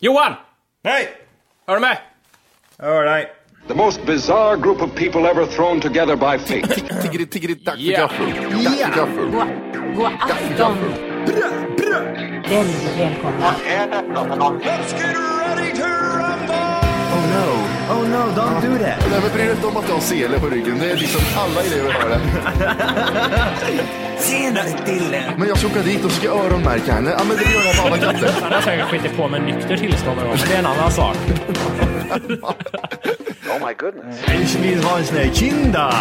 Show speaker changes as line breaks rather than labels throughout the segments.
Johan!
Hey!
Hör du med?
All right.
The most bizarre group of people ever thrown together by fate.
Tiggeri, tiggeri, tack för
Ja.
gaffel. Tack för gaffel.
God afton! Väldigt välkomna.
Oh no.
Oh no, don't do that.
Nej men bry dig inte om att du har sele på ryggen. Det är liksom alla elever har det.
Senare Dille!
Men jag ska åka dit och ska öronmärka henne. Ja men det gör jag på alla katter.
Han har säkert skitit på med nykter tillstånd någon gång, men det är en annan sak.
oh my goodness.
Ich vill ha en sån här kinda!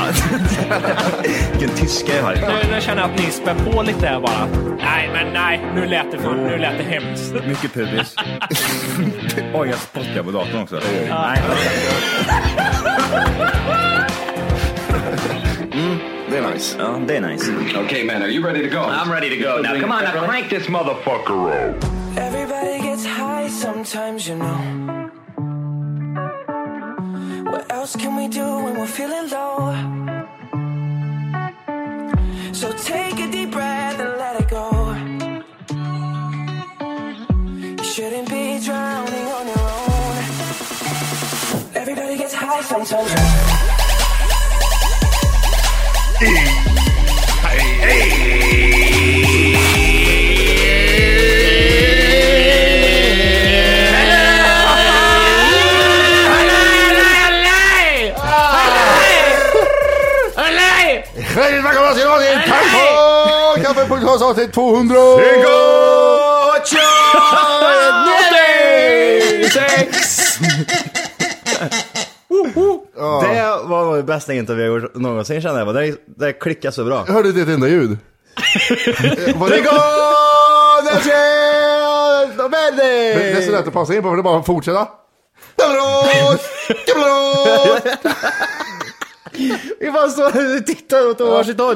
Vilken tyska jag har.
Nu, nu känner jag att ni spär på lite här bara. Nej, men nej. Nu lät det för, nu lät det hemskt.
Mycket pubis. Oj, jag spottar på datorn också. Nej,
Mm,
Det är nice.
Mm. ja, det är nice.
Okay, man, are you ready to go?
I'm ready to go now. Come on, now crank this motherfucker up.
Everybody gets high sometimes, you know. What else can we do when we're feeling low? So take a deep breath and let it go. You shouldn't be drowning on your own. Everybody gets high sometimes. you know.
Hej välkomna till Radio Kaffe! Kaffepodcast avsnitt 200!
Det var nog det bästa intervju jag gjort någonsin känner jag. Det, det klickar så bra.
Hörde du inte ett enda ljud? Eh, Var det... Det det är så lätt att passa in på för det är bara att fortsätta.
Vi bara står och tittar åt varsitt håll.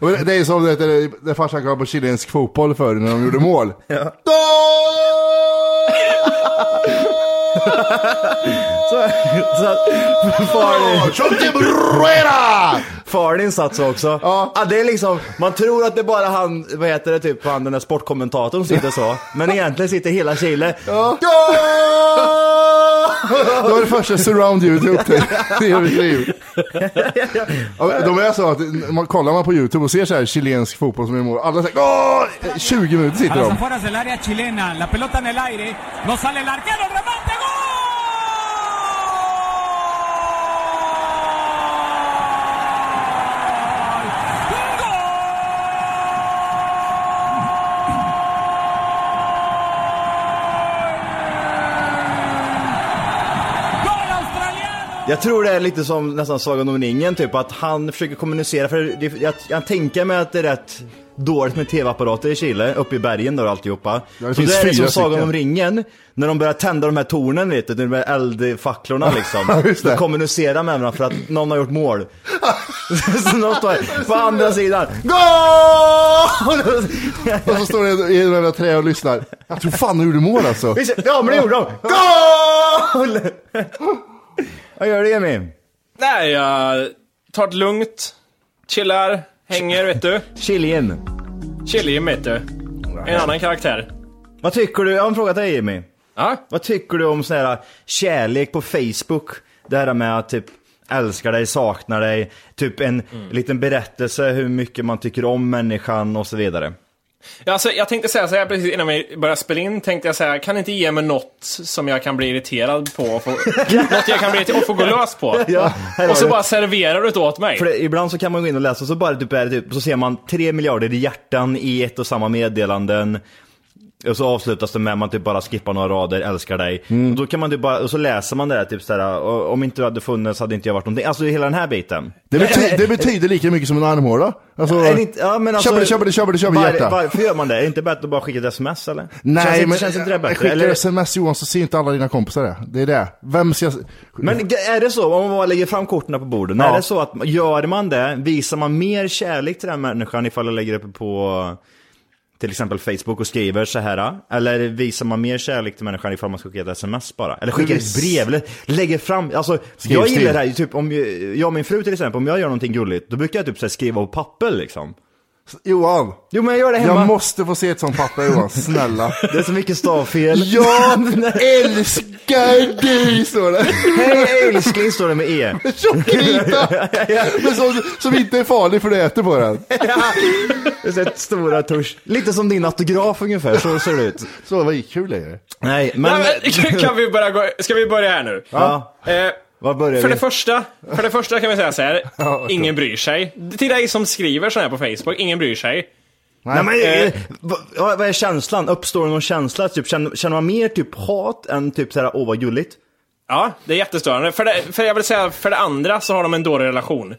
Och Det det är som det, det, det farsan kollade på chilensk fotboll förr när de gjorde mål.
Så, så att far,
typ Chontibrera!
far din satt så också.
Ja.
det är liksom, man tror att det är bara han, vad heter det, typ han den där sportkommentatorn som sitter så. Men egentligen sitter hela Chile.
Det var det första surround-ljudet jag upptäckte i hela mitt liv. Ja, De är så att man, kollar man på YouTube och ser så här chilensk fotboll som är i mål, alla säger åh! 20 minuter sitter de.
afueras del área chilena, la pelota en el aire, no sale el arquero, remate, gol! ¡Gol australiano!
Jag tror det är lite som nästan Sagan om ringen typ, att han försöker kommunicera för det, jag, jag tänker mig att det är rätt dåligt med tv-apparater i Chile, uppe i bergen där och alltihopa.
Ja, det
så
finns
det är det som
fyra
Sagan
stycken.
om ringen, när de börjar tända de här tornen lite, de här eldfacklorna liksom.
just det.
De kommunicerar med varandra för att någon har gjort mål. så de står på andra sidan. Goal!
Och så står det i de jävla trä och lyssnar. Jag tror fan de gjorde mål alltså.
Vi ser- ja men det gjorde de. Goal! Vad gör du Emil?
Nej, jag tar uh, det lugnt. Chillar, hänger, vet du.
Chilien.
Chili, vet du. En annan karaktär.
Vad tycker du, jag har en fråga till dig Jimmy.
Ja?
Vad tycker du om sån här kärlek på Facebook? Det här med att typ, älskar dig, saknar dig. Typ en liten berättelse hur mycket man tycker om människan och så vidare.
Ja, Alltså, jag tänkte säga så här precis innan vi började spela in, tänkte jag så här, kan ni inte ge mig något som jag kan bli irriterad på? Och få, något jag kan bli irriterad och få gå lös på?
Ja, här har
och så
du.
Alltså, bara serverar du det åt mig.
För det, ibland så kan man gå in och läsa och så bara typ är det typ, så ser man tre miljarder hjärtan i ett och samma meddelanden. Och så avslutas det med att man typ bara skippar några rader, älskar dig.
Mm.
Och då kan man typ bara, och så läser man det där typ såhär, "Och om inte du hade funnits hade inte jag varit någonting. Alltså hela den här biten.
Det, bety- det betyder lika mycket som en armhåla. Alltså,
Är det inte- ja, men alltså-
köper det, köper det, köper det, köper
Var-
hjärta.
Varför gör man det? Är det inte bättre att bara skicka ett sms eller?
Nej,
känns, inte-
men
känns inte det bättre?
skicka
eller?
sms Johan så ser inte alla dina kompisar det. Det är det. Vem ska...
Men g- är det så, om man bara lägger fram korten på bordet,
Ja.
är det så att gör man det, visar man mer kärlek till den människan ifall jag lägger upp på till exempel Facebook och skriver så här? Eller visar man mer kärlek till människan ifall man skickar ett sms bara? Eller skickar ett brev, eller lägger fram, alltså
Skriv,
jag
skriv.
gillar det här, typ om jag- jag och min fru till exempel, om jag gör någonting gulligt, då brukar jag typ så här skriva på papper liksom.
Johan!
Jo men jag gör det hemma.
Jag måste få se ett sånt papper Johan, snälla.
Det är så mycket stavfel.
Jag älskar dig står det.
Hej älskling står det med E.
Tjockrita! Men som, som inte är farlig för du äter på den.
Det är så här stora tusch. Lite som din autograf ungefär, så ser det ut.
Så vad kul är det.
Nej, men...
Nej, men, kan vi börja gå, ska vi börja här nu?
Ja.
Eh,
Var börjar
för,
vi?
det första, för det första kan vi säga så här,
klart.
ingen bryr sig. Till dig som skriver sådana här på Facebook, ingen bryr sig.
Nej, men,
Eh.
eh, vad, ja, vad är känslan? Uppstår det någon känsla? Typ, känner, känner man mer typ hat än typ såhär, åh vad gulligt?
Ja, det är jättestörande. För det, för jag vill säga, för det andra så har de en dålig relation.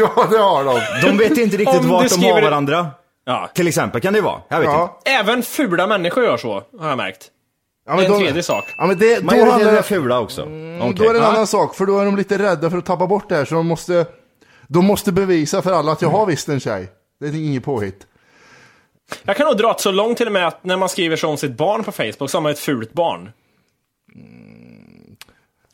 Ja det har de.
De vet inte riktigt
Om du
vart de
skriver
har
det-
varandra.
Ja.
Till exempel kan det ju vara. Jag vet inte.
Ja.
Även fula människor gör så, har jag märkt.
Ja,
Det är en
de-
tredje sak.
Ja, men det, då,
Majoriteten
handlar
är
det,
fula också.
då
Mm,
Okej.
är det en
Ja.
annan sak, för då är de lite rädda för att tappa bort det här så de måste, de måste bevisa för alla att jag har visst en tjej. Det är inget påhitt.
Jag kan nog dra det så långt till och med att när man skriver så om sitt barn på Facebook så har man ett fult barn.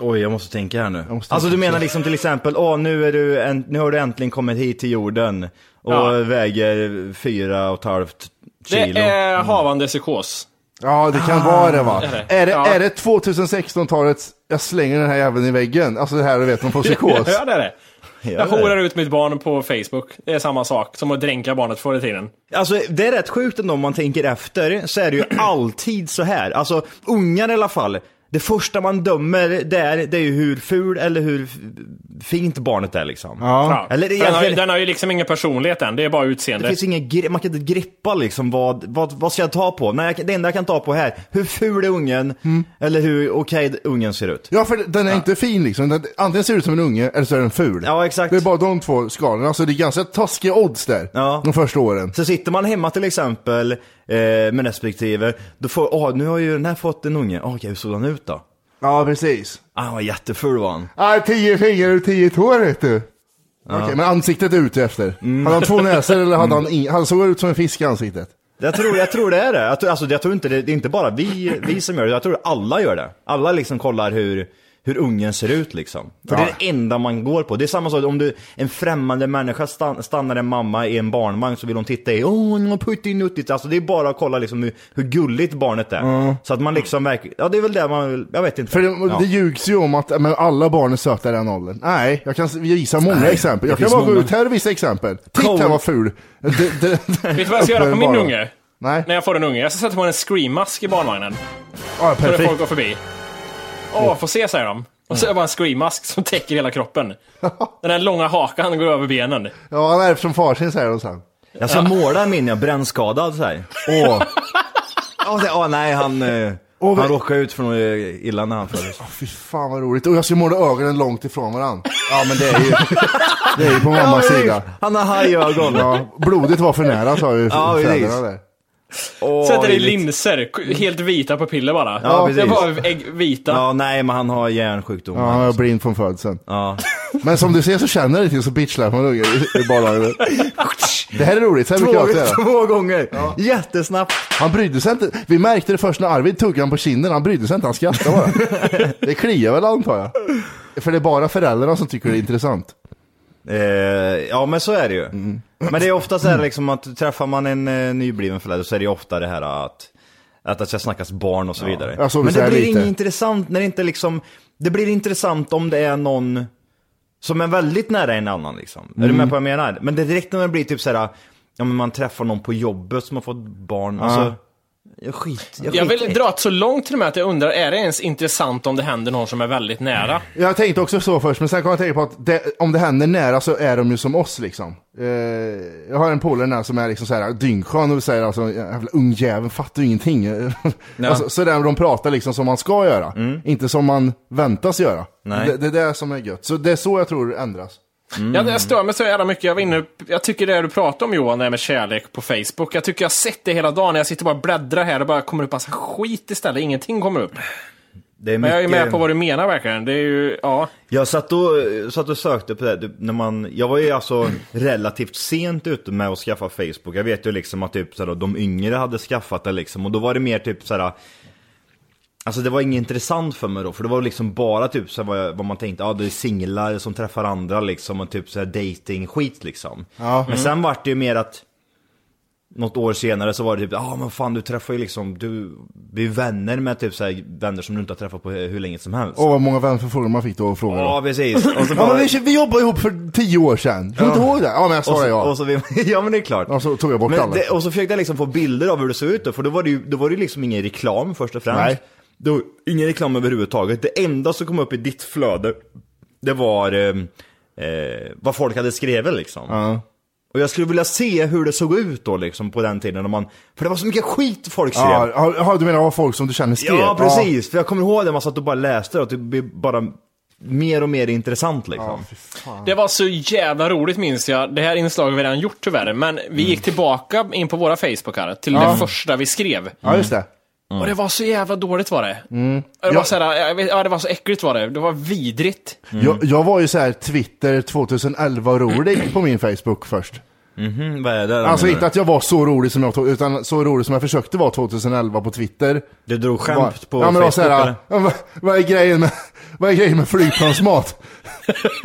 Oj, jag måste tänka här nu.
måste
Alltså du
tänka.
menar liksom till exempel, åh nu, är du en, nu har du äntligen kommit hit till jorden och
Ja.
väger fyra och ett halvt
Det
kilo. Mm.
är Eh, havande psykos.
Ja, det kan vara det va.
det.
Är det,
Ja.
är det 2016-talets, jag slänger den här jäveln i väggen, alltså det här du vet man får psykos.
Ja, det är det.
Gör
Jag
det?
horar ut mitt barn på Facebook. Det är samma sak som att dränka barnet förr i tiden.
Alltså det är rätt sjukt ändå om man tänker efter, så är det ju alltid så här. Alltså ungar i alla fall. Det första man dömer där, det är ju hur ful eller hur f- fint barnet är liksom.
Ja.
Eller det är
den, har ju,
egentligen-
den har ju liksom ingen personlighet än, det är bara utseende.
Det finns ingen gre- man kan inte greppa liksom vad, vad, vad ska jag ta på? Nej, jag kan- det enda jag kan ta på här, hur ful är ungen? Eller hur okej ungen ser ut.
Ja, för den är inte fin liksom. Den, antingen ser det ut som en unge eller så är den ful.
Ja, exakt.
Det är bara de två skalorna. Alltså det är ganska taskiga odds där.
Ja.
De första åren.
Så sitter man hemma till exempel eh, med respektive, då får, åh nu har ju den här fått en unge, åh, okej hur såg han ut då?
Ja, precis.
Ah, han var jätteful var han.
Ah, tio fingrar och tio tår vet du. Okej, men ansiktet är ute efter. Hade han två näsor eller hade han ing- Han såg ut som en fisk i ansiktet.
Jag tror, jag tror det är det. Jag tror, alltså, jag tror inte det, det är inte bara vi, vi som gör det, jag tror alla gör det. Alla liksom kollar hur, hur ungen ser ut liksom. För det är det enda man går på. Det är samma sak om du, en främmande människa stan, stannar en mamma i en barnvagn så vill hon titta i, åh hon har puttinuttigt. Alltså det är bara att kolla liksom hur, hur gulligt barnet är. Så att man liksom verkligen, ja det är väl det man vill, jag vet inte.
För det,
ja.
det ljugs ju om att men alla barn är söta i den åldern. Nej, jag kan visa många
Nej,
exempel.
det
Jag kan
finns
bara gå
många.
ut här och visa exempel. Titta
Cold.
vad ful. Det- det-
Vet du vad jag ska göra på min
Uppenbara.
unge?
Nej,
När jag får en unge? Jag ska sätta på en screammask i barnvagnen.
ah,
Så när folk
perfekt.
går förbi. Åh,
Mm.
får se säger de. Och så är det bara en screammask som täcker hela kroppen. Den där långa hakan går över benen.
Ja, han är som farsin säger de sen.
Jag ska måla min, jag brännskadad såhär.
Åh,
Åh så- åh, nej han, eh,
Åh, vad-
han råkade ut för något eh, illa när han föddes.
fy fan vad roligt. Och jag ska måla ögonen långt ifrån varandra. Ja, men det är ju, det är ju på mammas
Ja,
sida.
Han har hajögon.
Ja, blodet var för nära sa ju
Ja, precis.
föräldrarna där.
Åh,
Sätter i
vilket-
linser, k- helt vita pupiller bara.
Ja,
det är
precis.
bara ägg, vita.
Ja, nej, men han har hjärnsjukdom.
Ja, han var blind från födseln.
Ja.
Men som du ser så känner jag lite så bitchlar man ungar i- i barnvagnen. Det här är roligt, så här brukar jag alltid göra.
två gånger. Jättesnabbt.
Han brydde sig inte. Vi märkte det först när Arvid tuggade han på kinden, han brydde sig inte, han skrattade bara. Det kliar väl antar jag. För det är bara föräldrarna som tycker det är intressant.
Eh, ja, men så är det ju.
Mm.
Men det är ofta så här liksom att träffar man en eh, nybliven förälder så är det ju ofta det här att att det ska snackas barn och så vidare.
jag såg det
men
så
det
här
blir
lite.
inget intressant när det inte liksom, det blir intressant om det är någon Som är väldigt nära en annan liksom. Är du
Mm.
med på vad jag menar? Men det är direkt när det blir typ såhär, ja men man träffar någon på jobbet som har fått barn, alltså. Jag er skit, jag,
Jag vill
skit-
dra ett så långt till och med att jag undrar, är det ens intressant om det händer någon som är väldigt nära?
Jag tänkte också så först, men sen kom jag att tänka på att det, om det händer nära så är de ju som oss liksom. Eh, jag har en polare där som är liksom så här dyngskön och säger alltså, jävla ungjäveln fattar ju ingenting.
Ja.
alltså, så där de pratar liksom som man ska göra, inte som man väntas göra.
Nej.
Det, det är det som är gött. Så det är så jag tror det ändras.
Jag, jag stör mig så jävla mycket. Jag, var inne, jag tycker det du pratar om Johan, det här med kärlek på Facebook. Jag tycker jag har sett det hela dagen. Jag sitter bara och bläddrar här och bara kommer upp massa skit istället. Ingenting kommer upp.
Det är
Men jag är
mycket-
med på vad du menar verkligen. Det är ju, ja.
Jag satt och, satt och sökte på det, här, när man, jag var ju alltså relativt sent ute med att skaffa Facebook. Jag vet ju liksom att typ såhär, de yngre hade skaffat det liksom, och då var det mer typ såhär, Alltså det var inget intressant för mig då, för det var liksom bara typ så här vad, jag, vad man tänkte, ja det är singlar som träffar andra liksom och typ så här dating skit liksom.
Ja.
Men sen vart det ju mer att något år senare så var det typ, ja men fan du träffar ju liksom, du blir vänner med typ så här vänner som du inte har träffat på hur hur länge som helst.
Och vad många vänförfrågor man fick då och frågor.
Ja, precis. Och så
ja,
bara-
men vi, vi jobbade ihop för tio år sedan. Kommer du inte ihåg det? Ja, men jag
och
sa
så,
det ja.
Och så, vi- ja men det är klart.
Och så tog jag bort
Men
alla.
det, och så försökte jag liksom få bilder av hur det såg ut då, för då var det ju, då var det ju liksom ingen reklam först och främst.
Nej.
Då, ingen reklam överhuvudtaget. Det enda som kom upp i ditt flöde, det var eh, eh, vad folk hade skrivit liksom. Och jag skulle vilja se hur det såg ut då liksom på den tiden. När man, för det var så mycket skit folk skrev.
Ja, ja, ja, du menar av folk som du känner skrev?
Ja, precis. För jag kommer ihåg det, man satt och bara läste det, och det blev bara mer och mer intressant liksom.
Det var så jävla roligt minns jag. Det här inslaget har vi redan gjort tyvärr. Men vi gick tillbaka in på våra Facebookar till
Ja.
det första vi skrev.
Ja, just det.
Mm. Och det var så jävla dåligt var det.
Mm.
Det var,
Jag-
så här, jag vet, ja, det var så äckligt var det. Det var vidrigt.
Mm.
Jag, jag var ju så här Twitter 2011 rolig på min Facebook först.
Mhm, vad är det då,
Alltså
menar
inte
du?
att jag var så rolig som jag tog, utan så rolig som jag försökte vara 2011 på Twitter.
Du drog skämt
Bara-
på
ja, men det var
Facebook
så här,
eller?
ja, vad, vad är grejen med, vad är grejen med flygplansmat?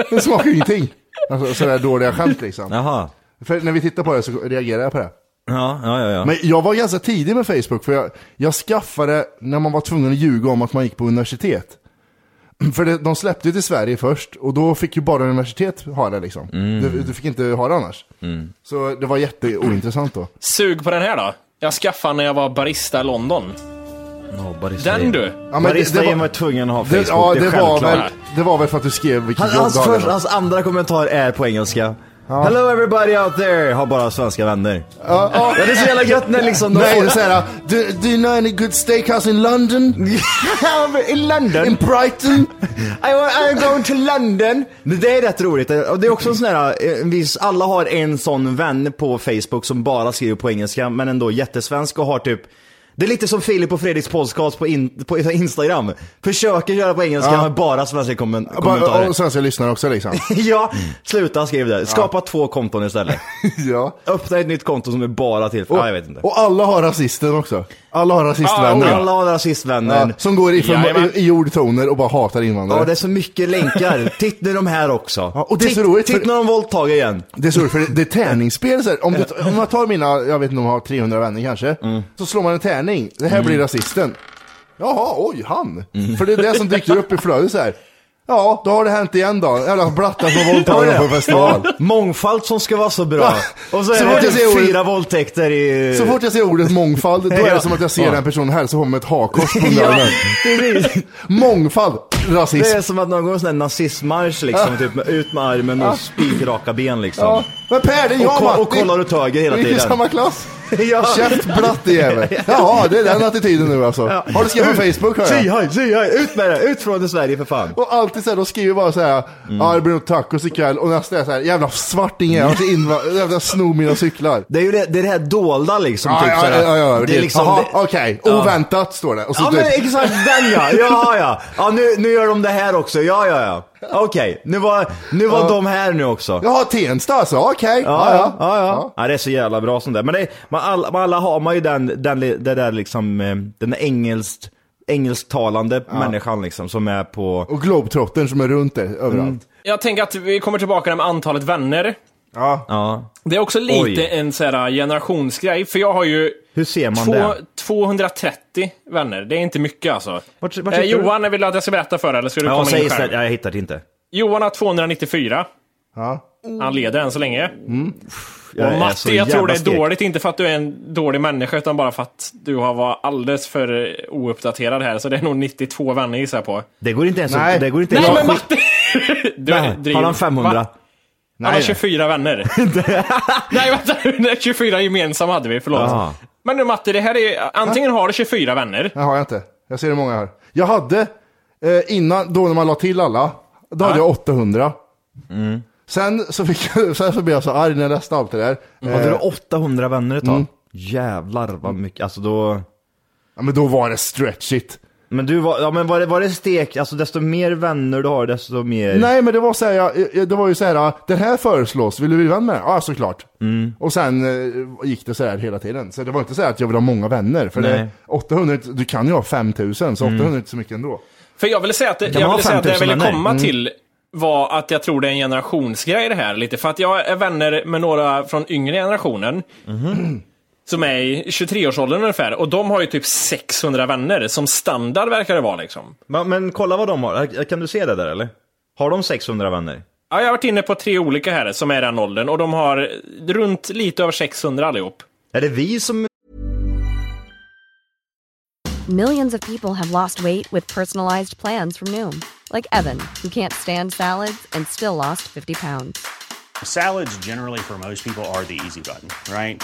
det smakar ju ingenting. Alltså sådär dåliga skämt liksom.
Jaha.
För när vi tittar på det så reagerar jag på det.
Ja, ja, ja. ja.
Men jag var ganska tidig med Facebook, för jag, jag skaffade när man var tvungen att ljuga om att man gick på universitet. För det, de släppte ju till Sverige först, och då fick ju bara universitet ha det liksom.
Mm.
Du, du fick inte ha det annars. Så det var jätteointressant då.
Sug på den här då. Jag skaffade när jag var barista i London. Den du!
Ja, men det- det var-
tvungen att ha
Det,
Facebook,
ja,
det,
det,
är
var
självklart.
väl, det var väl för att du skrev vilket
Han,
jobb
hans,
du hade.
först, hans andra kommentar är på engelska. Hello everybody out there! Har bara svenska vänner.
Ja, ja.
Ja, det är så jävla gött när liksom de
Nej,
får-
det är såhär, do, do you know any good steakhouse in London?
in London?
In Brighton?
I want, I'm going to London! Men Det är rätt roligt, och det är också en sån här, en viss, alla har en sån vän på Facebook som bara skriver på engelska, men ändå jättesvensk och har typ det är lite som Filip och Fredriks podcast på, in, på Instagram. Försöker göra på engelska
Ja.
med bara svenska kommen,
Ja, bara-
kommentarer.
Och svenska lyssnare också liksom.
ja, sluta skriv det. Skapa två konton istället.
ja.
Öppna ett nytt konto som är bara till för...
Och,
Ja, jag vet inte.
och alla har rasister också. Alla har rasistvänner.
alla har rasistvänner.
Ja, som går i,
Jajamän.
för, i, i ordtoner och bara hatar invandrare.
Ja, det är så mycket länkar. Titt nu de här också. Ja,
och det är
titt,
så roligt, för-
Titt när de våldtager igen.
Det är så roligt, för det, det är tärningsspel. Så här. Om, det, om man tar mina, jag vet inte om jag har 300 vänner kanske,
Mm.
så slår man en tärning. Det här blir rasisten. Jaha, oj, han.
Mm.
För det är det som dyker upp i flödet så här. Ja, då har det hänt igen då. Jävla blattar som
Ja,
våldtagen
det.
på festival.
Ja, Mångfald som ska vara så bra. Och så är
Så fort
det typ
jag ser
fyra våldtäkter i...
Så fort jag ser ordet mångfald, då är det
Ja.
som att jag ser
Ja.
den personen hälsa på med ett hakkors på
Ja,
öronen. Mångfald, rasism.
Det är som att någon går en sån här nazistmarsch liksom,
Ja.
typ med- ut med armen
Ja.
och spikraka ben liksom.
Ja. Men Per, det är jag
och, ko-
Matti.
och kollar åt höger hela
Vi är i
tiden.
samma klass.
Ja.
Käft blattejävel. Jaha, det är den attityden nu alltså. Har du skrivit på Facebook hör
Si
jag.
haj, si haj, ut med det, ut från det Sverige för fan.
Och alltid såhär, de skriver bara såhär,
Mm.
ja det blir nog tacos ikväll. Och nästa är såhär, jävla svarting jävla,
Mm.
inva- jävla snor mina cyklar.
Det är ju det, det, är det här dolda liksom.
Ja,
typ,
ja,
så här,
ja, ja,
det är liksom,
Jaha,
det-
okej.
Ja.
Oväntat står det. Och så
Ja
typ-
men exakt den ja, ja ja. ja nu, nu gör de det här också, ja ja ja. Okej, nu var, nu var
Ja.
de här nu också.
Jaha, Tensta alltså, okej.
Ja ja, ja, ja. ja det är så jävla bra sånt där. Men, det, man, alla, man alla har man ju den, den, li- det där liksom, eh, den engelskt, engelsktalande människan liksom som är på...
Och globetrottern som är runt det överallt.
Jag tänker att vi kommer tillbaka där med antalet vänner.
Ja.
ja.
Det är också lite
Oj.
en så här generationsgrej, för jag har ju
Hur ser man
två,
det?
230 vänner. Det är inte mycket alltså.
Vart- vart
eh,
hittar du-
Johan, vill du att jag ska berätta för dig, eller ska du
Ja,
komma
säg
in
istället,
själv?
jag hittar det inte.
Johan har 294. Han leder än så länge.
Jag är
och
så
Matti, jag tror
jävla
det är
skrek.
dåligt. Inte för att du är en dålig människa, utan bara för att du har varit alldeles för ouppdaterad här. Så det är nog 92 vänner gissar jag på.
Det går inte ens
Nej.
att... Det går inte
Nej,
ens
men
att-
Matti! Du är
Nej,
driv.
Har han 500?
Va? Han har 24 vänner. nej, vänta. nej, 24 gemensamma hade vi, förlåt.
Jaha.
Men nu Matti, det här är antingen har du 24 vänner.
Nej, har jag inte. Jag ser hur många jag har. Jag hade, eh, innan, då när man la till alla, då hade jag 800. Mm. Sen så, fick jag, sen så blev jag så arg när jag läste allt det där. Eh,
Hade du 800 vänner ett tag?
Mm.
Jävlar vad mycket, alltså då...
Ja men då var det stretchigt.
Men du var, ja men var det, var det stek, alltså desto mer vänner du har desto mer...
Nej men det var så här, jag, jag- det var ju så här, ah, den här föreslås, vill du bli vän med den? Ja såklart. Och sen eh, gick det så här hela tiden. Så det var inte så här att jag vill ha många vänner. För det,
Nej.
800, du kan ju ha 5000, så 800 är inte så mycket ändå.
För jag ville säga att det,
Kan man
jag,
ha
ville säga att det jag
5000
ville
vänner?
komma
Mm.
till var att jag tror det är en generationsgrej det här lite. För att jag är vänner med några från yngre generationen. Som är i 23-årsåldern ungefär. Och de har ju typ 600 vänner. Som standard verkar det vara liksom.
Men, men kolla vad de har, kan du se det där eller? Har de 600 vänner?
Ja, jag har varit inne på tre olika här som är i den åldern. Och de har runt lite över 600 allihop.
Är det vi som
Millions of people have lost weight with personalized plans from Noom, like Evan, who can't stand salads and still lost 50 pounds.
Salads, generally, for most people, are the easy button, right?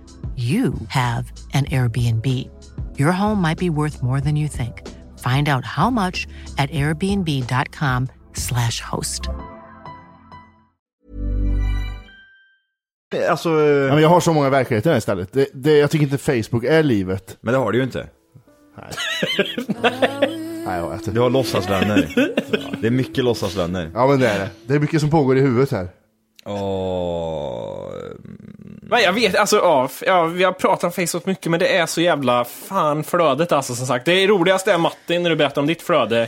you have an Airbnb. Your home might be worth more than you think. Find out how much at airbnb.com/slash host.
Alltså...
Ja, men jag har så många verkligheter i det här stället. Det, det, jag tycker inte Facebook är livet.
Men det har du ju inte.
Nej, jag vet
Du har låtsasvänner. det är mycket låtsasvänner.
Ja men det är det. Det är mycket som pågår i huvudet här.
Åh...
Men jag vet, alltså ja, f- ja, vi har pratat om Facebook mycket, men det är så jävla fan flödet alltså som sagt. Det roligaste är Martin när du berättar om ditt flöde.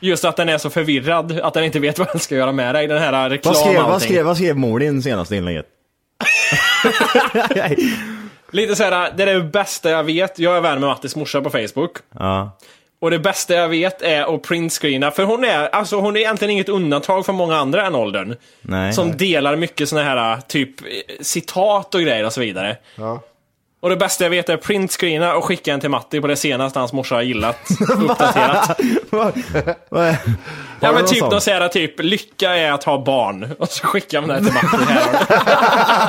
Just att den är så förvirrad, att den inte vet vad den ska göra med dig. Den här reklam
Vad skrev,
och
vad
allting.
skrev, vad skrev Molin senaste inlägget?
Lite såhär, det är det bästa jag vet. Jag är vän med Mattis morsa på Facebook.
Ja.
Och det bästa jag vet är att printscreena, för hon är, alltså, hon är egentligen inget undantag från många andra än åldern.
Nej.
Som delar mycket såna här typ eh, citat och grejer och så vidare.
Ja.
Och det bästa jag vet är printscreena och skicka en till Matti på det senaste hans morsa har gillat. uppdaterat. ja
Har du
men
någon
typ,
sån?
de säger att typ lycka är att ha barn. Och så skickar man det här till Matti. Här.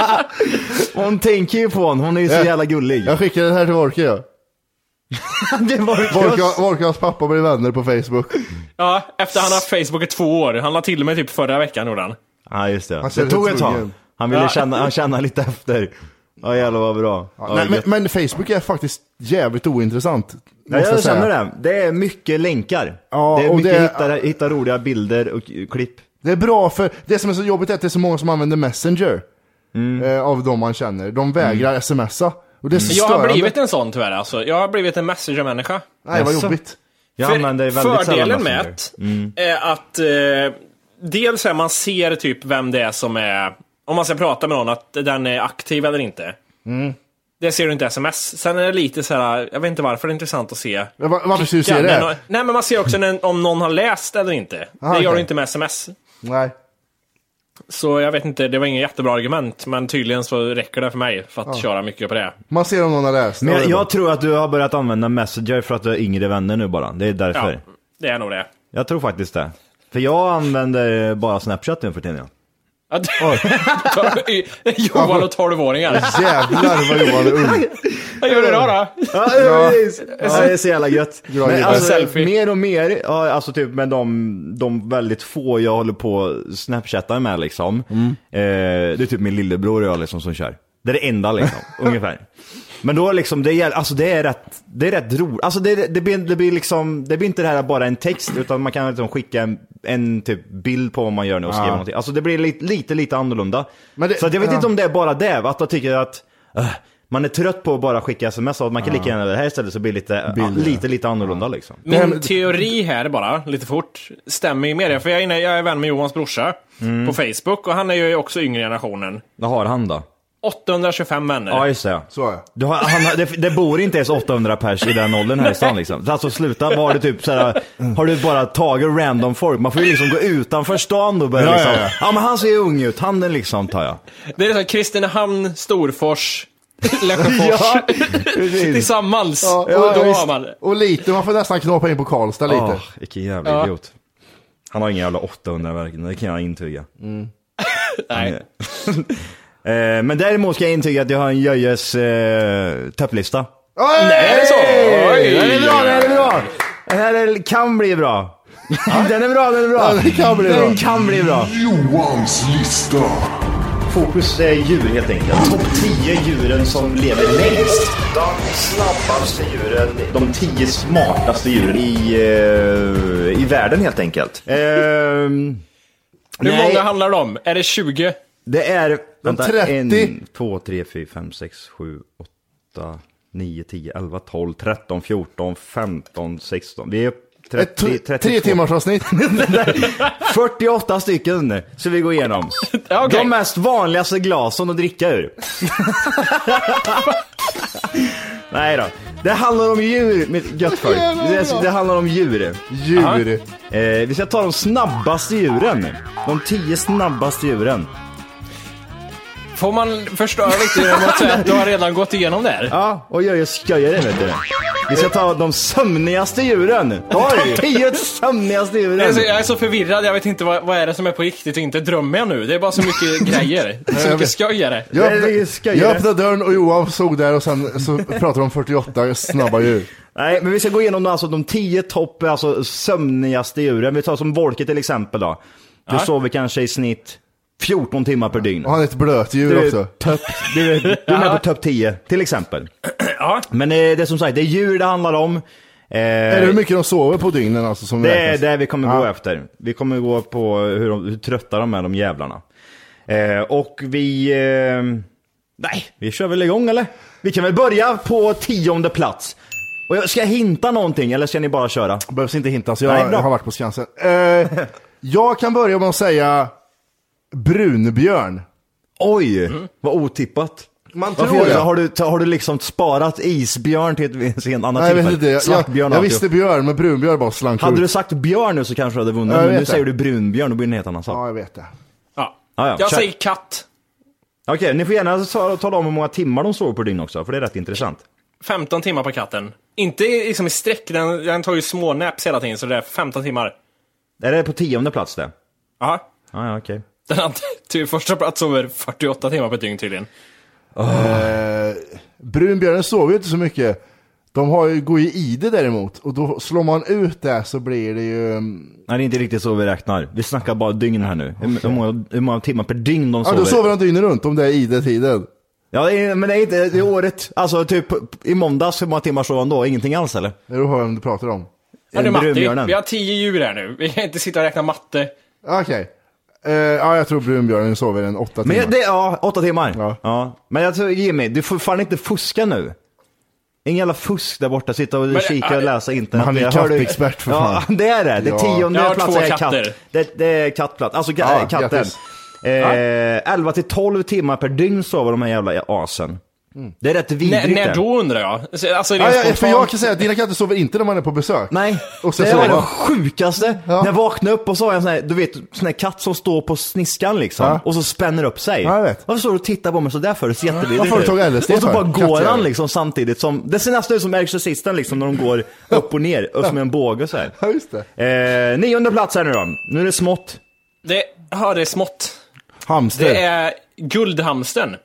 Hon tänker ju på honom, hon är ju så
Jag-
jävla gullig.
Jag skickade det här till Vorke ja.
det var
Vorka, Vorkas pappa blir vänner på Facebook.
Ja, efter han har haft Facebook i två år. Han la till mig typ förra veckan gjorde han.
Ja just det.
Han
Det
kände
tog
sig
ett tag.
tvungen.
Han ville
Ja.
känna, han känna lite efter. Ja jävlar vad bra. Ja,
Nej, men,
gött.
men Facebook är faktiskt jävligt ointressant. Måste
Nej, jag
säga.
känner det. Det är mycket länkar.
Ja,
det är
och
mycket
det-
hitta, hitta roliga bilder och klipp.
Det är bra för, det som är så jobbigt är att det är så många som använder Messenger. Eh, av de man känner. De vägrar smsa. Och det är så
Jag har
störande.
blivit en sån tyvärr alltså. Jag har blivit en messenger-människa.
Nej vad jobbigt.
Jag
För
använder väldigt
fördelen
sällan alltså.
med
Messenger.
att- är att eh, dels är man ser typ vem det är som är, om man ska prata med någon, att den är aktiv eller inte.
Mm.
Det ser du inte i sms. Sen är det lite så här, jag vet inte varför det är intressant att se.
Men va- varför ska du se
Klicka,
det?
men- eh, nej, men man ser också när, om någon har läst eller inte.
Aha,
det gör du
okej.
inte med sms.
Nej.
Så jag vet inte, det var inget jättebra argument, men tydligen så räcker det för mig för att
Ja.
köra mycket på det.
Man ser om någon har läst.
Men
Ja, det
jag,
är
jag tror att du har börjat använda Messenger för att du har yngre vänner nu bara. Det är därför.
Ja, det är nog det.
Jag tror faktiskt det. För jag använder bara Snapchat nu för tiden. ja.
Att- Johan och tolvåringar.
Jävlar vad Johan är ung.
Vad gjorde du då? då?
Ja,
Ja.
precis. Ja, det är så jävla gött.
Bra
Men
jobbat.
alltså,
Selfie.
mer och mer, ja, alltså typ med de, de väldigt få jag håller på och snapchattar med liksom.
Mm.
Eh, det är typ min lillebror och jag liksom som kör. Det är det enda liksom, ungefär. Men då liksom, det är, alltså det är rätt, det är rätt roligt. Alltså det, det, blir, det blir liksom, det blir inte det här bara en text, utan man kan liksom skicka en, en typ bild på vad man gör nu och skriva
Ja.
någonting. Alltså det blir lite, lite, lite annorlunda.
Men det-
så att jag vet
ja.
inte om det är bara det, att jag tycker att eh, man är trött på att bara skicka sms och att man kan
Ja.
lika gärna göra det här istället så blir det lite, ja,
Bilder.
lite, lite annorlunda liksom.
Min teori här bara, lite fort, stämmer ju med det. För jag är, inne, jag är vän med Johans brorsa
Mm.
på Facebook och han är ju också yngre generationen.
Vad har han då?
825 vänner.
Ja just det. Du har, han, har- det, det bor inte ens 800 pers i den åldern här i stan liksom. Alltså sluta, vad har du typ såhär, har du bara tagit random folk? Man får ju liksom gå utanför stan då och börja
Ja,
liksom,
ja,
ja,
ja.
men han ser ju ung ut, handen liksom tar jag.
Det är liksom Kristinehamn, Storfors, Lesjöfors.
Ja,
tillsammans. och
ja,
då
visst.
har man det.
Och lite, man får nästan knåpa in på Karlstad lite.
Ah, vilken jävla
Ja.
idiot. Han har inga jävla 800 verkligen, det kan jag intyga.
Mm. Nej.
Eh, Men däremot ska jag intyga att jag har en Jöjes eh, topplista.
Oj!
Nej, är det så?
Oj!
Den är bra, den är bra! Den här är- kan bli bra. Den är bra, den är bra.
Ja, den kan bli bra.
Den kan bli bra. Johans lista. Fokus är djur helt enkelt. Topp 10 djuren som lever längst. De snabbaste djuren. De 10 smartaste djuren i, eh, i världen helt enkelt. Ehm,
Hur
nej.
många handlar det om? Är det 20?
Det är... Vänta,
30.
en, två, tre, fyra, fem, sex, sju, åtta, nio, tio, elva, tolv, tretton, fjorton, femton, sexton. Vi är upp 30,
Ett Eh, tre
32.
timmars avsnitt.
48 stycken nu, så vi går igenom. De mest vanligaste glasen att dricka ur. Nej då. Det handlar om djur, mitt gött folk. Det, det handlar om djur.
Djur.
Aha. Eh, vi ska ta de snabbaste djuren. De tio snabbaste djuren.
Får man förstöra lite genom att säga att du har redan gått igenom det här?
Ja, och jag, jag skojar det vet du. Vi ska ta de sömnigaste djuren. De tio sömnigaste djuren.
Jag är, så, jag är så förvirrad, jag vet inte vad, vad är det som är på riktigt och inte. Drömmer jag nu? Det är bara så mycket grejer. Så mycket skoj är det.
Jag öppnade, jag öppnade dörren och Johan såg där och sen så pratade de om 48 snabba djur.
Nej, men vi ska gå igenom alltså, de tio topp alltså, sömnigaste djuren. Vi tar som Volke till exempel då. Du
Ja.
sover kanske i snitt 14 timmar per dygn.
Och han är ett blötdjur
Du-
också.
Topp, du, du är med på topp 10 till exempel. Men eh, det är som sagt, det är djur det handlar om. Eh,
Är det hur mycket de sover på dygnen alltså som
Det är
räknas?
det vi kommer gå
Ja.
efter. Vi kommer gå på hur, de, hur trötta de är, de jävlarna. Eh, och vi... Eh, nej, vi kör väl igång eller? Vi kan väl börja på tionde plats. Och jag, ska jag hinta någonting eller ska ni bara köra?
Behövs inte hintas, jag, jag har varit på Skansen. Eh, jag kan börja med att säga brunbjörn.
Oj, vad otippat.
Man
Varför
tror
gör
det.
du- Har du, har du liksom sparat isbjörn till ett sen annat
Nej, jag vet
tillfälle?
inte. Jag, jag,
Svartbjörn och
jag
alltihop.
visste björn, men brunbjörn bara slank
Hade
ut.
du sagt björn nu så kanske du hade vunnit,
Ja, jag
men nu
vet det.
säger du brunbjörn, då blir det en helt annan sak.
Ja, jag vet det.
Ja.
Ah, ja.
Jag
Kör.
säger katt.
Okej, ni får gärna ta- tala om hur många timmar de sover på dygn också, för det är rätt intressant.
15 timmar på katten. Inte liksom i sträck, den, den tar ju små naps hela tiden, så det är 15 timmar.
Är det på tionde plats det?
Jaha.
Ah, ja, okej.
Den andra, till första plats sover 48 timmar per dygn tydligen.
Eh, brunbjörnen sover ju inte så mycket. De har ju, går ju i det däremot. Och då slår man ut det så blir det ju... mm,
Nej, det är inte riktigt så vi räknar. Vi snackar bara dygn här nu. Hur, hur, många, hur många timmar per dygn de
Ja,
sover.
då sover de dygnet runt om det är i det tiden.
Ja, det är- men det är inte, det är året. Alltså typ i måndags, hur många timmar sov han då? Ingenting alls eller?
Är du hör vem du pratar om?
Ja, du Matti,
Brunbjörnen.
vi har 10 djur här nu. Vi kan inte sitta och räkna matte.
Okej. Eh, ja, jag tror brunbjörnen sover en åtta
Men
timmar.
jag- det, ja, åtta timmar. Ja. Men jag tror, Jimmy, du får fan inte fuska nu. Ingen jävla fusk där borta, sitta och
Men- äh,
kika och läsa
Men
internet.
han är
Jag hör du-
kattexpert, för
ja,
fan.
det är det. Det är
Ja.
tionde
Jag har
plats
två
är katt.
katter.
Det, det är kattplats. Alltså ka-
Ja,
äh, katten.
grattis.
Eh,
Ja.
11 till 12 timmar per dygn sover de här jävla asen.
Mm.
Det är rätt
När,
vidrigt
när
det.
då undrar jag? Så- Alltså,
Ja,
rent
ja, för
spontant.
jag kan säga att dina katter sover inte när man är på besök.
Nej,
och sen
Det var
sova.
det sjukaste. När jag vaknade upp och så har jag en sån här, du vet, sån här katt som står på sniskan liksom.
Ja.
Och så spänner upp sig.
Ja, jag vet.
Varför står du och tittar på mig sådär för? Det ser jättevidrigt
Varför har du tagit LSD
Och så
för?
bara går
Kattjävel.
han liksom samtidigt som, det ser nästan ut som Exorcisten liksom när de går upp och ner, och som en båge så här.
Ja, just det.
Eh, nionde plats här nu då. Nu är det smått.
Det, ja, det är smått.
Hamster.
Eh.
Det är guldhamsten.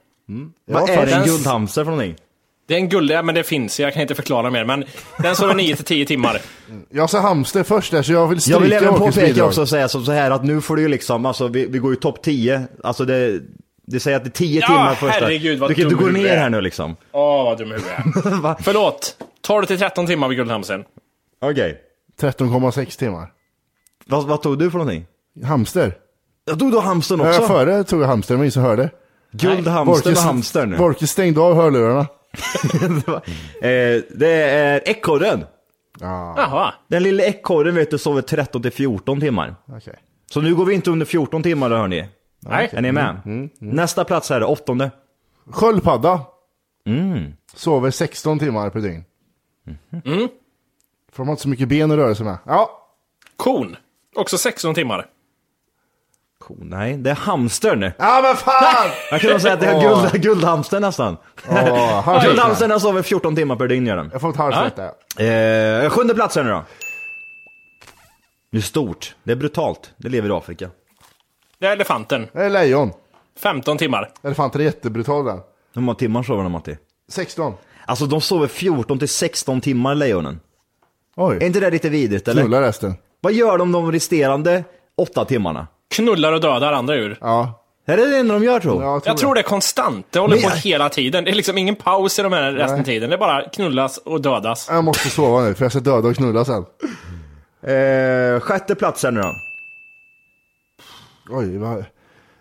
Vad är en guldhamster för någonting?
Det är en guld, ja, men det finns, jag kan inte förklara mer. Men den står 9 till 10 timmar.
Jag sa hamster först där, så jag vill stryka
Jag vill även
Åkes
påpeka
bidrag.
också och säga som så här att nu får du ju liksom, alltså vi, vi går ju topp 10, alltså det, det säger att det är 10
Ja,
timmar första.
herregud, vad
du kan inte
dum
gå
du
ner
är.
här nu liksom.
Åh, vad dum i huvudet jag är. Förlåt. 12 till 13 timmar vid guldhamsten.
Okej.
13,6 timmar.
Vad, vad tog du för någonting?
Hamster.
Jag tog då hamstern
Ja,
också.
jag före tog jag hamster, men ingen som hörde.
Guldhamstern och hamstern.
Borke stängde av hörlurarna.
Eh, det är ekorren. Ah.
Jaha.
Den lilla ekorren vet du sover 13 till 14 timmar.
Okej.
Så nu går vi inte under 14 timmar då hörni.
Nej.
Är ni med? Nästa plats här är åttonde.
Sköldpadda.
Mm.
Sover 16 timmar per dygn.
Mhm.
Mm.
För de har inte så mycket ben att röra sig med. Ja.
Kon. Också 16 timmar.
Ko- Nej, det är Ah. hamstern.
Ja men fan!
Jag kan nog säga att det är
Åh.
guld, guldhamstern nästan. Ah,
Åh, halvt rätt.
guldhamstern den sover 14 timmar per dygn gör den.
Jag får ett halvt rätt där.
Eh, sjunde plats här nu då. Det är stort. Det är brutalt. Det lever i Afrika.
Det är elefanten.
Det är lejon.
15 timmar.
Elefanten är jättebrutal den.
Hur många timmar sover de Matti?
16.
Alltså de sover 14 till 16 timmar lejonen.
Oj.
Är inte det lite vidrigt eller?
Knulla resten.
Vad gör de de resterande 8 timmarna?
Knullar och dödar andra djur.
Ja.
Är det det enda de gör tror
Jag tror det är konstant. Det håller
Men
på
jag-
hela tiden. Det är liksom ingen paus i de här resten
Nej.
tiden. Det är bara knullas och dödas.
Jag måste sova nu för jag ska döda och knulla sen.
Eh, sjätte plats här nu då.
Oj, vad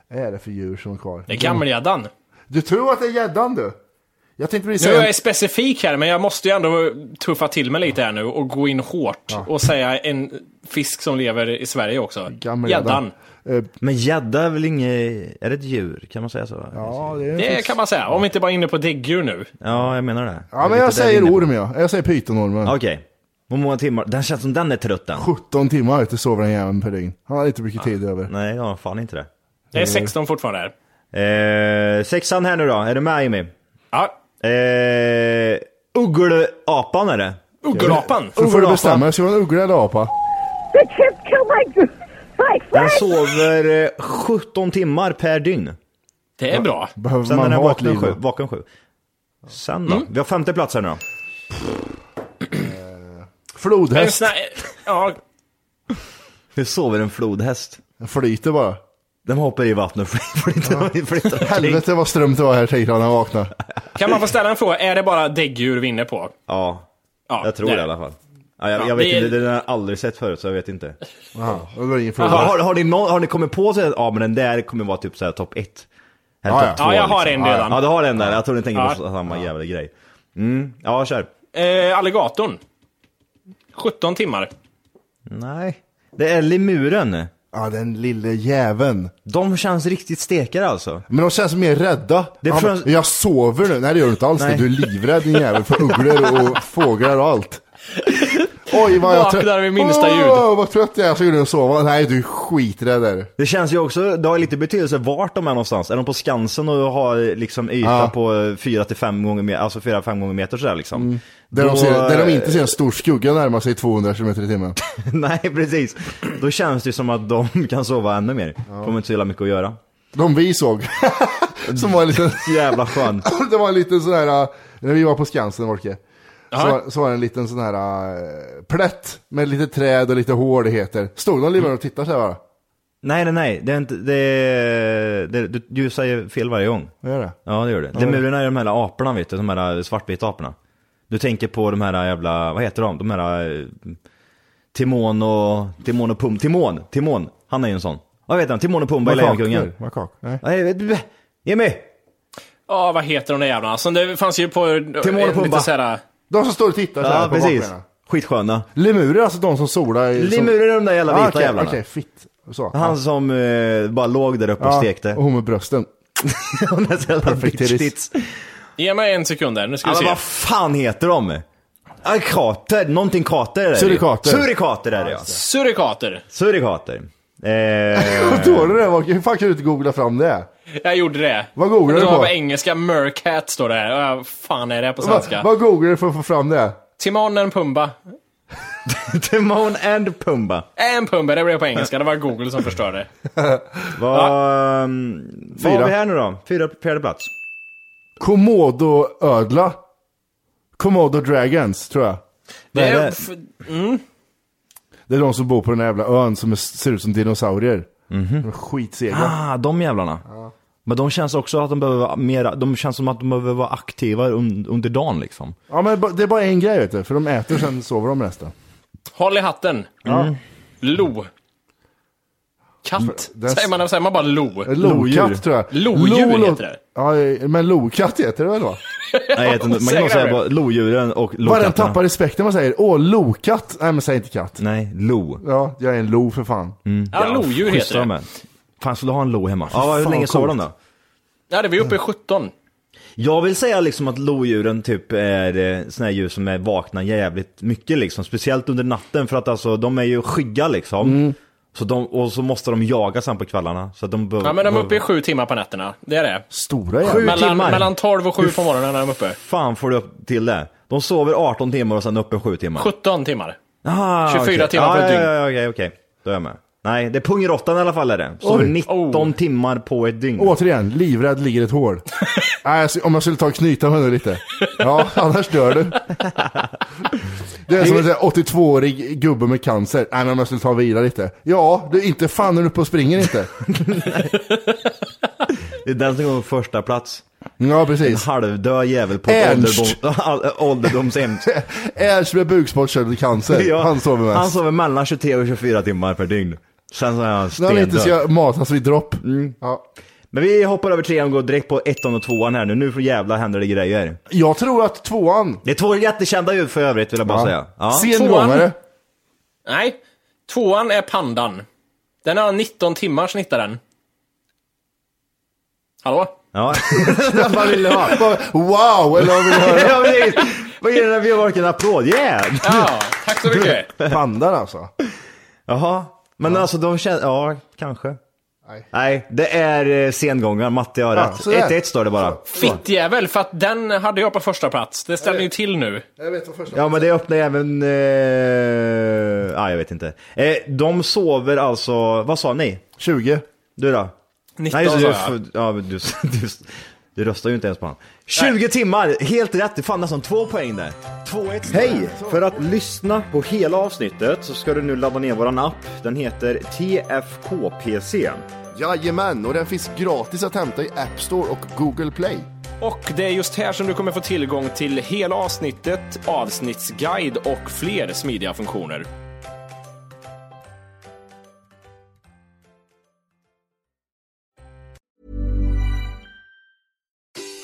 är det för djur som är kvar?
Det är gammelgäddan.
Du tror att det är gäddan du? Jag tänkte precis
Nu är
säga...
jag specifik här, men jag måste ju ändå tuffa till mig lite här nu och gå in hårt och säga en fisk som lever i Sverige också. Gäddan.
Men gädda är väl inget... Är det ett djur? Kan man säga så? Ja,
det,
Det kan man säga, om vi inte bara är inne på däggdjur nu.
ja jag menar det.
Ja, men jag säger orm ja. Jag säger pytonormen.
Okej. Hur många timmar? Den känns som den är trött den.
17 timmar ute sover den jäveln per dygn. Han har inte mycket tid över.
Nej, jag har fan inte det.
Det är 16 fortfarande här.
Eh, sexan här nu då. Är du med Jimmy?
Ja.
Eh, uggelapan är det.
Uggelapan.
Så får du bestämma dig, ska det vara en uggla eller apa?
Den sover eh, 17 timmar per dygn.
Det är bra.
Behöver
Sen
man
den är
ha ett
vaken
liv
sju,
då?
vaken sju. Sen
Mm.
då? Vi har femte plats här nu då.
En
Flodhäst.
sån här, ja,
Hur sover en flodhäst?
Den flyter bara.
Den hoppar i vattnet och flyttar, flyttar, flyttar omkring.
Helvete vad strömt det var här tänkte han när han vaknade.
kan man få ställa en fråga, är det bara däggdjur vi är inne på?
Ja,
Ja,
jag tror
det
det,
är
i alla fall. Ja, jag,
Ja,
jag vet
det är-
inte, den har jag aldrig sett förut så jag vet inte.
Jaha, det var ingen
Har,
fråga.
har, har, ni, nå- har ni kommit på så här, ja men den där kommer vara typ såhär topp 1? Eller
Ja,
topp två,
ja.
Ja, jag har en
Ja,
redan.
Ja, du har en där, jag tror ni tänker
Ja.
på samma jävla grej. Mm, ja kör.
Eh, alligatorn. 17 timmar.
Nej. Det är lemuren.
Ja, den lille jäveln.
De känns riktigt stekare alltså.
Men de känns mer rädda.
Det är
Han
från-
bara, Jag sover nu. Nej det gör du inte alls.
Nej.
Du är livrädd din jävel för ugglor och fåglar och allt. Oj vad jag
Vaknar vid minsta ljud.
Åh, vad trött jag är. Så går du och sova. Nej du är skiträdd där.
Det känns ju också, det har lite betydelse vart de är någonstans. Är de på Skansen och har liksom yta
Ja.
på 4-5 gånger, me- alltså 4-5 gånger meter sådär liksom.
Mm. Där, de ser, där de inte ser en stor skugga närma sig 200 km i timmen.
Nej precis. Då känns det ju som att de kan sova ännu mer. Ja. Kommer inte så jävla mycket att göra.
De vi såg. som var en liten,
Jävla skön.
det var en liten sån här, äh, när vi var på Skansen Volke. Så,
Jaha.
var- så var det en liten sån här äh, plätt med lite träd och lite hår det heter. Stod de livrädda och tittade så här bara?
Nej nej nej, det är inte, det, är- det du, du säger fel varje gång.
Vad gör det?
Ja det gör det. Lemurerna är de här aporna vet du, de här eh, svartvita aporna. Du tänker på de här jävla, vad heter de? De här... eh, Timon och... Timon och Pum... Timon! Timon! Han är ju en sån. Vad heter han? Timon och Pumba i Lejonkungen.
Makak? Nej.
Nej, vet du- Jimmy!
Ja, vad heter de där jävlarna? Som det fanns ju på...
Timon och
lite
Pumba.
så här- eh,
De som står och tittar så här
Ja
på
precis.
bakbenen.
Skitsköna.
Lemurer, alltså de som solar i...
Lemurer är de där jävla
Ah,
vita
okej,
jävlarna.
Okej, fitt. Så.
Han som eh, bara låg där uppe och
Ja,
stekte.
Och hon med brösten.
Hon är så jävla
Perfect
bitch
titties.
tits.
Ge mig en sekund där, nu ska vi
Alltså
se.
vad fan heter de? Ah, Kater, någonting kater är det ju.
Surikater.
Surikater är det ja.
Surikater.
Surikater. Eh,
Vad dålig du är, Volker. Hur fan kan du inte googla fram det?
Jag gjorde det.
Vad googlar
Det
du
var
på?
på engelska, Mercat står det här. Vad fan är det på
Va,
svenska?
vad googlar du för att få fram det?
Timon och Pumba.
Timon and Pumba.
And Pumba, det blev på engelska. Det var Google som förstörde.
Vad um, vad har
Fyra.
vi här nu då? Fyra, fjärde plats.
Komodo-ödla. Komodo Dragons, tror jag.
Det är, f- mm.
Det är de som bor på den här jävla ön som är, ser ut som dinosaurier.
Mhm.
De är skitsega.
Ah, de jävlarna. Men de känns också att de behöver vara mera, de känns som att de behöver vara aktiva un, under dagen liksom.
Ja men ba- det är bara en grej vet du, för de äter och sen sover de resten.
Håll i hatten.
Ja.
Lo. Katt.
Den-
Säger man, säger man bara lo?
Lokatt tror jag.
Lodjur
Lo- lo-
heter det.
Ja, eh, men lokatt heter det väl va?
Nej, jag vet inte. man kan nog säga bara lodjuren och
Bara den
lokatterna.
tappar respekten man säger åh lokatt. Nej men säg inte
Mm.
katt.
Nej, lo.
Ja, jag är en lo för fan.
Ja, lodjur
schyssta
heter
de
det.
är. Fan, skulle du ha en lo hemma?
Fan,
Ja, hur länge sover de då?
Ja, det var ju uppe i 17.
Jag vill säga liksom att lodjuren typ är eh, såna här djur som är vakna jävligt mycket liksom. Speciellt under natten för att alltså de är ju skygga liksom. Så de, och så måste de jaga sen på kvällarna. Så att de behöver...
Ja, men de är uppe i sju timmar på nätterna. Det är det.
Stora
Sju
mellan,
timmar?
mellan 12 och 7
Hur
på morgonen är de uppe.
fan får du upp till det? De sover 18 timmar och sen uppe 7 timmar.
17 timmar.
Ah,
24
okej.
timmar på
ja,
ett dygn.
Ja, ja, okej, okej. Då är jag med. Nej, det är pungråttan i alla fall är det. Sover
Oj.
19
Oh.
timmar på ett dygn.
Återigen, livrädd ligger ett hål. Nej, jag skulle- om jag skulle ta och knyta mig nu lite. Ja, annars dör du. Det är som en sån här 82-årig gubbe med cancer. Nej, men om jag skulle ta och vila lite. Ja, du inte fan är du uppe och springer inte.
Det är den som går på första plats.
Ja,
En
precis.
halvdöd jävel på ett
Ernst.
ålderdom, ålderdomshem.
Ernst med bukspottkörtelcancer,
Ja,
Typ. han sover mest.
Han sover mellan 23 och 24 timmar per dygn. Sen så är han
När han inte
stendöd.
ska matas vid dropp.
Mm.
Ja.
Men vi hoppar över trean och går direkt på ettan och tvåan här nu. Nu för jävla händer det grejer.
Jag tror att tvåan...
Det är två jättekända ljud för övrigt vill jag bara
Ja.
säga. Ja.
Sengångare.
Nej, tvåan är pandan. Den har 19 timmar snittar den. Hallå?
Ja. Vad vill du ha?
Wow, eller vad vill du höra?
Ja, precis. Vad ger den här biomarken en applåd? Yeah!
Ja, tack så mycket.
Pandan alltså.
Jaha. Men alltså de känner, ja kanske.
Nej.
Nej, det är eh, sengångaren. Matte har
Ja,
rätt.
sådär.
1-1 står det bara.
Fittjävel, för att den hade jag på första plats. Det ställer ju till nu.
Jag vet vad första
Ja men det öppnar ju även... Eh... Ah, jag vet inte. Eh, de sover alltså, vad sa ni?
20.
Du då?
19
Nej, just,
sa
det,
jag.
du, ja, men du, du, du röstar ju inte ens på han. 20 timmar, helt rätt. Det fanns nästan två poäng där. 2-1. Hej! För att lyssna på hela avsnittet så ska du nu ladda ner våran app. Den heter TFKPC.
Jajamän, och den finns gratis att hämta i App Store och Google Play.
Och det är just här som du kommer få tillgång till hela avsnittet, avsnittsguide och fler smidiga funktioner.